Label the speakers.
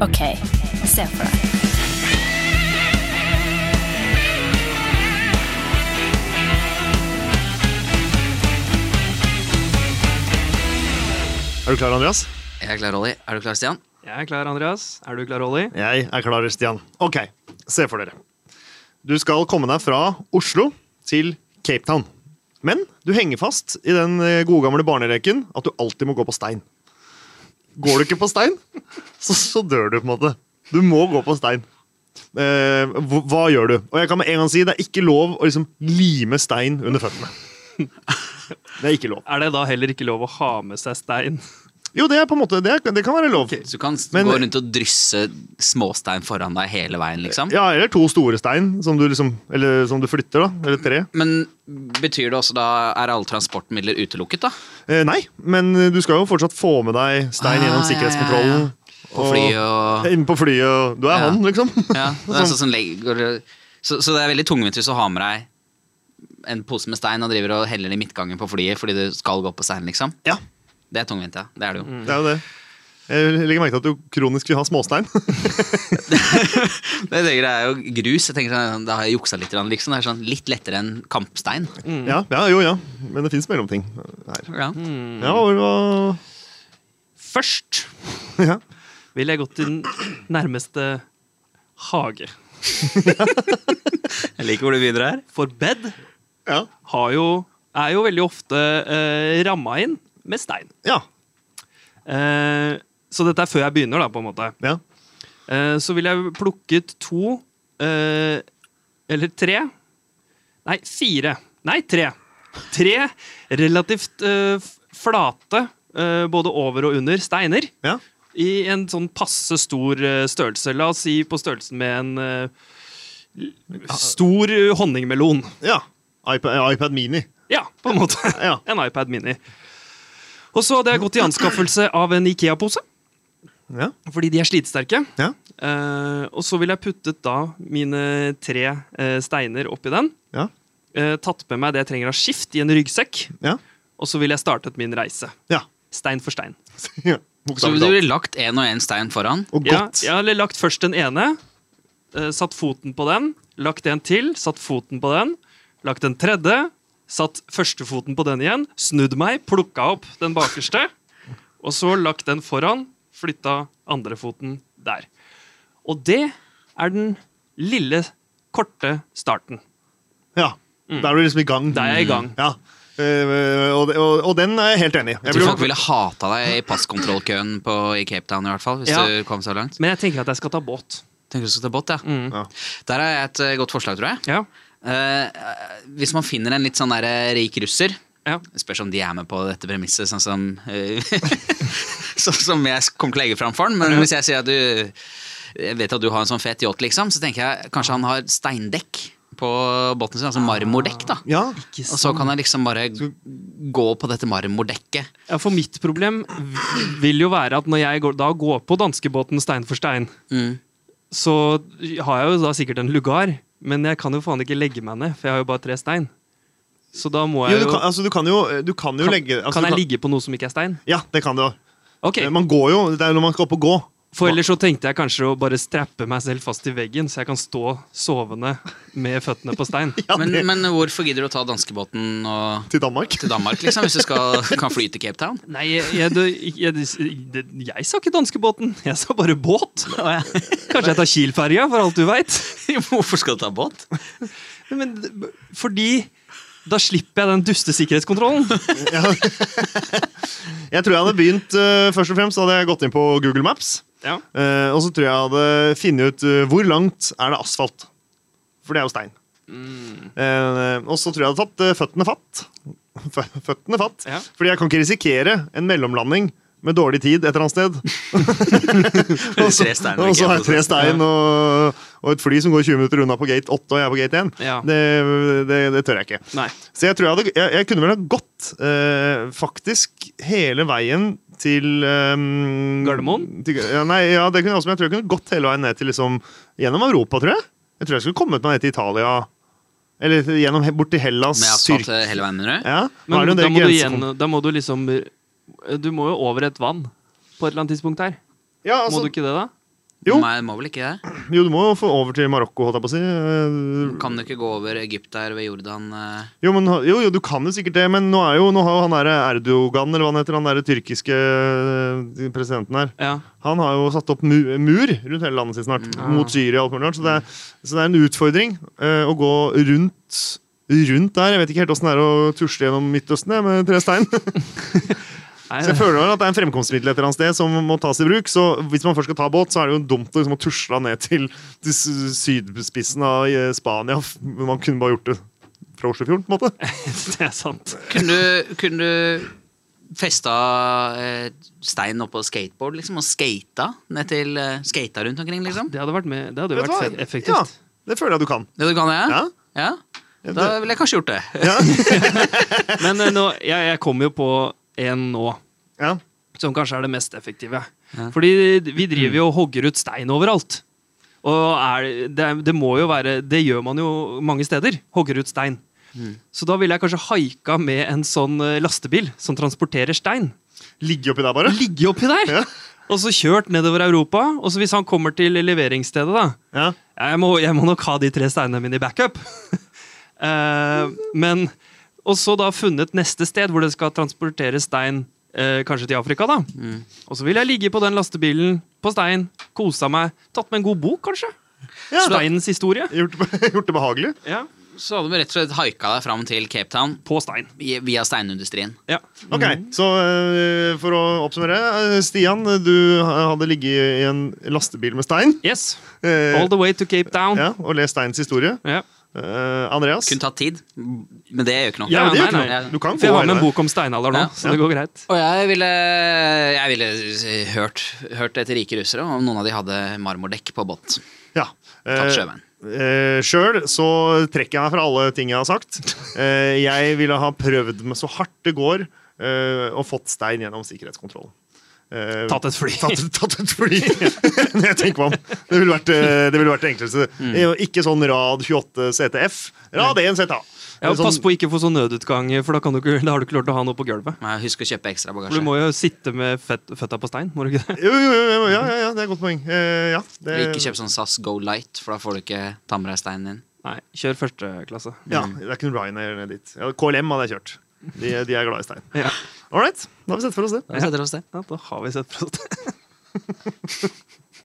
Speaker 1: OK, se for deg.
Speaker 2: Er du klar, Andreas?
Speaker 3: Jeg er klar, Olli. Er du klar, Stian?
Speaker 4: Jeg er klar, Andreas. Er du klar, Olli?
Speaker 2: Jeg er klar, Stian. Ok, se for dere. Du skal komme deg fra Oslo til Cape Town. Men du henger fast i den eh, gode gamle barneleken at du alltid må gå på stein. Går du ikke på stein, så, så dør du på en måte. Du må gå på stein. Eh, hva, hva gjør du? Og jeg kan med en gang si det er ikke lov å liksom lime stein under føttene. Det er ikke lov.
Speaker 4: Er det da heller ikke lov å ha med seg stein?
Speaker 2: Jo, det er på en måte, det, er, det kan være lov.
Speaker 3: Så du kan s-
Speaker 2: Men-
Speaker 3: gå rundt og drysse småstein foran deg hele veien, liksom.
Speaker 2: Ja, eller to store stein som du, liksom, eller, som du flytter, da. Eller tre.
Speaker 3: Men betyr det også da Er alle transportmidler utelukket, da?
Speaker 2: Eh, nei, men du skal jo fortsatt få med deg stein
Speaker 3: Ah,
Speaker 2: gjennom
Speaker 3: ja,
Speaker 2: sikkerhetskontrollen.
Speaker 3: ja, På fly og
Speaker 2: Inn på flyet og Du er
Speaker 3: Ja.
Speaker 2: han, liksom.
Speaker 3: Ja, det er sånn som legger, så, så det er veldig tungvint hvis du har med deg en pose med stein og driver og heller den i midtgangen på flyet fordi du skal gå på stein, liksom.
Speaker 2: Ja,
Speaker 3: Det er tungvint, ja. Det er det jo.
Speaker 2: det er jo det. Jeg legger merke til at du kronisk vil ha småstein.
Speaker 3: Det, jeg tenker, det er jo grus. Jeg tenker sånn, Da har jeg juksa litt, grann, liksom. Det er sånn litt lettere enn kampstein.
Speaker 2: ja, ja, jo, ja. Men det fins mellomting her.
Speaker 3: Ja.
Speaker 2: Ja, og, hva-
Speaker 4: Først
Speaker 2: ja.
Speaker 4: vil jeg gå til den nærmeste hage.
Speaker 3: Jeg liker hvor du begynner her.
Speaker 4: For bed
Speaker 2: ja.
Speaker 4: har jo, er jo veldig ofte eh, ramma inn med stein.
Speaker 2: ja.
Speaker 4: Eh, så dette er før jeg begynner, da, på en måte.
Speaker 2: ja.
Speaker 4: Eh, så vil jeg plukket to eh, Eller tre. Nei, fire. Nei, tre. Tre relativt eh, f- flate, eh, både over og under, steiner.
Speaker 2: ja.
Speaker 4: I en sånn passe stor eh, størrelse. La oss si på størrelsen med en eh, l- stor eh, honningmelon.
Speaker 2: ja. iPad, iPad Mini.
Speaker 4: Ja, på en måte.
Speaker 2: Ja.
Speaker 4: En iPad Mini. Og så hadde jeg gått i anskaffelse av en Ikea-pose,
Speaker 2: Ja.
Speaker 4: fordi de er slitesterke.
Speaker 2: ja.
Speaker 4: Eh, og så ville jeg puttet da mine tre eh, steiner oppi den.
Speaker 2: Ja.
Speaker 4: eh, tatt med meg det jeg trenger av skift i en ryggsekk.
Speaker 2: Ja.
Speaker 4: Og så ville jeg startet min reise.
Speaker 2: ja.
Speaker 4: Stein for stein.
Speaker 2: ja.
Speaker 3: Så
Speaker 2: Bokstavelig
Speaker 3: du
Speaker 2: talt.
Speaker 3: ville lagt én og én stein foran.
Speaker 2: Og godt.
Speaker 4: Ja, jeg hadde lagt først den ene, eh, satt foten på den, lagt en til, satt foten på den, lagt en tredje, satt førstefoten på den igjen, snudd meg, plukka opp den bakerste, og så lagt den foran, flytta andrefoten der. Og det er den lille, korte starten.
Speaker 2: Ja. Da er du liksom i gang.
Speaker 4: Mm. Da er jeg i gang.
Speaker 2: Ja. Eh, og, og, og den er jeg helt enig i. Jeg
Speaker 3: Jeg tror
Speaker 2: blir-
Speaker 3: folk ville hata deg i passkontrollkøen på, i Cape Town, i hvert fall, hvis
Speaker 4: Ja.
Speaker 3: du kom så langt.
Speaker 4: Men jeg tenker at jeg skal ta båt.
Speaker 3: Tenker du skal ta båt, ja.
Speaker 2: Ja.
Speaker 3: Der har jeg et eh, godt forslag, tror jeg.
Speaker 4: Mm. Ja,
Speaker 3: Eh, eh, hvis man finner en litt sånn der eh, rik russer
Speaker 4: ja.
Speaker 3: Spørs om de er med på dette premisset, sånn som eh, Sånn som jeg kommer til å legge fram for den. Men hvis jeg sier at du jeg vet at du har en sånn fet yacht, liksom, så tenker jeg kanskje han har steindekk på båten sin. Altså marmordekk, da.
Speaker 2: ja.
Speaker 3: Og
Speaker 4: Altså,
Speaker 3: så kan jeg liksom bare
Speaker 2: Ah.
Speaker 3: gå på dette marmordekket.
Speaker 4: Ja, for mitt problem v- vil jo være at når jeg går, da går på danskebåten stein for stein,
Speaker 3: Mm.
Speaker 4: så har jeg jo da sikkert en lugar, men jeg kan jo faen ikke legge meg ned, for jeg har jo bare tre stein. Så da må
Speaker 2: Jo,
Speaker 4: jeg
Speaker 2: du
Speaker 4: jo
Speaker 2: kan, altså, du kan jo, du kan jo
Speaker 4: Kan,
Speaker 2: legge altså,
Speaker 4: kan
Speaker 2: du
Speaker 4: jeg ligge på noe som ikke er stein?
Speaker 2: Ja, det kan du òg.
Speaker 4: Ok,
Speaker 2: Man går jo, det er jo når man skal opp og gå.
Speaker 4: For ellers så tenkte jeg kanskje å bare strappe meg selv fast til veggen, så jeg kan stå sovende med føttene på stein.
Speaker 2: Ja,
Speaker 3: Men,
Speaker 2: det,
Speaker 3: men hvorfor gidder du å ta danskebåten og
Speaker 2: til Danmark.
Speaker 3: til Danmark, liksom, hvis du skal, kan fly til Cape Town?
Speaker 4: Nei, jeg, jeg, jeg, jeg, jeg, jeg sa ikke danskebåten, jeg sa bare båt. Kanskje jeg tar Kiel-ferja, for alt du veit.
Speaker 3: Hvorfor skal du ta båt?
Speaker 4: Men, b- fordi da slipper jeg den duste sikkerhetskontrollen.
Speaker 2: Jeg tror jeg hadde begynt eh, først og fremst, hadde jeg gått inn på Google Maps.
Speaker 4: Ja.
Speaker 2: eh, og så tror jeg jeg hadde funnet ut eh, hvor langt er det asfalt. For det er jo stein. Eh, og så tror jeg jeg hadde tatt eh, føttene fatt. Fø- Føttene fatt.
Speaker 4: Ja.
Speaker 2: Fordi jeg kan ikke risikere en mellomlanding med dårlig tid et eller annet sted. og så
Speaker 3: Tre steiner,
Speaker 2: og så har jeg tre
Speaker 3: ikke?
Speaker 2: stein og, og et fly som går 20 minutter unna på gate 8, og jeg er på gate 1.
Speaker 4: Ja.
Speaker 2: Det, det, det tør jeg ikke.
Speaker 4: Nei.
Speaker 2: Så jeg tror jeg, hadde, jeg, jeg kunne vel ha gått eh, faktisk hele veien til ehm,
Speaker 4: Gardermoen?
Speaker 2: Til, ja, nei, ja, det kunne jeg også, men jeg tror jeg kunne gått hele veien ned til liksom, gjennom Europa, tror jeg. Jeg tror jeg skulle kommet meg ned til Italia, eller gjennom, bort til Hellas,
Speaker 3: Med asfalt
Speaker 2: Tyrk.
Speaker 3: eh, hele veien, mener du?
Speaker 2: Ja, nå er
Speaker 4: Men
Speaker 2: det jo en
Speaker 4: da
Speaker 2: del
Speaker 4: må, du
Speaker 2: grenser-
Speaker 4: igjen, da må du liksom Du må jo over et vann på et eller annet tidspunkt her.
Speaker 2: Ja, altså,
Speaker 4: Må du ikke det, da?
Speaker 2: Jo.
Speaker 3: Nei, må vel ikke det?
Speaker 2: Jo, du må jo få over til Marokko, holdt jeg på å si. Eh,
Speaker 3: Kan du ikke gå over Egypt der ved Jordan? eh?
Speaker 2: Jo, men, jo, jo, du kan jo sikkert det, men nå, er jo, nå har jo han der Erdogan, eller hva han heter, han der tyrkiske eh, presidenten her,
Speaker 4: Ja.
Speaker 2: han har jo satt opp mu mur rundt hele landet sitt snart, mot Syria og alt mulig rart, så det er, så det er en utfordring eh, å gå rundt, rundt der. Jeg vet ikke helt åssen det er å tusle gjennom Midtøsten jeg, med tre stein.
Speaker 4: Nei,
Speaker 2: Så jeg føler at det er en fremkomstmiddel et eller annet sted som må tas i bruk. Så hvis man først skal ta båt, så er det jo dumt å liksom, å tusle ned til, til s- sydspissen av eh, Spania. Man kunne bare gjort det fra Oslofjorden, på en måte.
Speaker 4: det er sant.
Speaker 3: Kunne du, kunne du festa eh, stein oppå skateboard liksom, og skata ned til eh, skata rundt omkring, liksom?
Speaker 4: Det hadde vært, med, det hadde jo
Speaker 2: Vet du
Speaker 4: vært
Speaker 2: hva?
Speaker 4: fett- effektivt.
Speaker 2: Ja, det føler jeg du kan.
Speaker 3: Det du kan, ja?
Speaker 2: Ja.
Speaker 3: ja? Da ville jeg kanskje gjort det.
Speaker 2: Ja.
Speaker 4: Men eh, nå, jeg, jeg kommer jo på en nå.
Speaker 2: ja.
Speaker 4: som kanskje er det mest effektive. Fordi vi driver jo og hogger ut stein overalt. Og er, det, det må jo være Det gjør man jo mange steder. Hogger ut stein. Så da ville jeg kanskje haika med en sånn eh, lastebil som transporterer stein.
Speaker 2: Ligge oppi der, bare.
Speaker 4: Ligge oppi der!
Speaker 2: Ja.
Speaker 4: Og så kjørt nedover Europa. Og så hvis han kommer til leveringsstedet, da
Speaker 2: Ja.
Speaker 4: ja, jeg, må, jeg må nok ha de tre steinene mine i backup. Eh, men Og så da funnet neste sted hvor det skal transportere stein, eh, kanskje til Afrika, da.
Speaker 2: Mm.
Speaker 4: Og så vil jeg ligge på den lastebilen på stein, kosa meg, tatt med en god bok, kanskje.
Speaker 2: Ja.
Speaker 4: Steinens historie.
Speaker 2: Gjort, det- gjort det behagelig.
Speaker 4: Ja.
Speaker 3: Så hadde vi rett og slett haika deg fram til Cape Town
Speaker 4: På stein.
Speaker 3: i- via steinindustrien.
Speaker 4: Ja. Mm.
Speaker 2: Ok, Så eh, for å oppsummere. eh, Stian, du hadde ligget i en lastebil med stein.
Speaker 4: Yes.
Speaker 2: eh,
Speaker 4: All the way to Cape Town.
Speaker 2: ja, og lest steins historie.
Speaker 4: Ja.
Speaker 2: Eh, Andreas?
Speaker 3: Kunne tatt tid, men det gjør ikke noe.
Speaker 4: Ja,
Speaker 2: det gjør
Speaker 4: nei,
Speaker 2: ikke
Speaker 4: nei.
Speaker 2: noe. Du kan
Speaker 4: For jeg
Speaker 2: gå
Speaker 4: har med
Speaker 2: hele
Speaker 4: en bok om steinalder nå,
Speaker 3: Ja.
Speaker 4: så det går greit.
Speaker 3: Og jeg ville, jeg ville s- hørt, hørt etter rike russere om noen av de hadde marmordekk på båt.
Speaker 2: Ja.
Speaker 3: Tatt
Speaker 2: Eh,
Speaker 3: sjøveien.
Speaker 2: eh, Sjøl så trekker jeg meg fra alle ting jeg har sagt. Eh, jeg ville ha prøvd meg så hardt det går, eh, og fått stein gjennom sikkerhetskontrollen. Eh,
Speaker 4: Tatt et fly.
Speaker 2: Tatt, tatt et fly! Når jeg tenker meg om. Det ville vært eh, det, ville vært det enkleste.
Speaker 4: Mm.
Speaker 2: Eh, Ikke sånn rad 28 CTF. Rad 1 ZA.
Speaker 4: Ja, og
Speaker 2: sånn,
Speaker 4: pass på å ikke få sånn nødutgang, for da, kan du ikke, da har du ikke lov til å ha noe på gulvet.
Speaker 3: Men Husk å kjøpe ekstra
Speaker 4: For
Speaker 3: bagasje.
Speaker 4: du må jo sitte med fett, føtta på stein, må du ikke det?
Speaker 2: Jo, jo, jo, jo, ja, ja, ja, det er et godt poeng. Eh, ja, det,
Speaker 3: Og Ikke kjøp sånn SAS Go Light, for da får du ikke ta med deg steinen din.
Speaker 4: Nei, kjør første klasse.
Speaker 2: ja, det er ikke noe Ryanair ned dit. Ja, KLM hadde jeg kjørt. De, de er glad i stein.
Speaker 4: Ja.
Speaker 2: All right, da har vi sett for oss det.
Speaker 3: Da setter vi oss det.
Speaker 4: da har vi sett på det.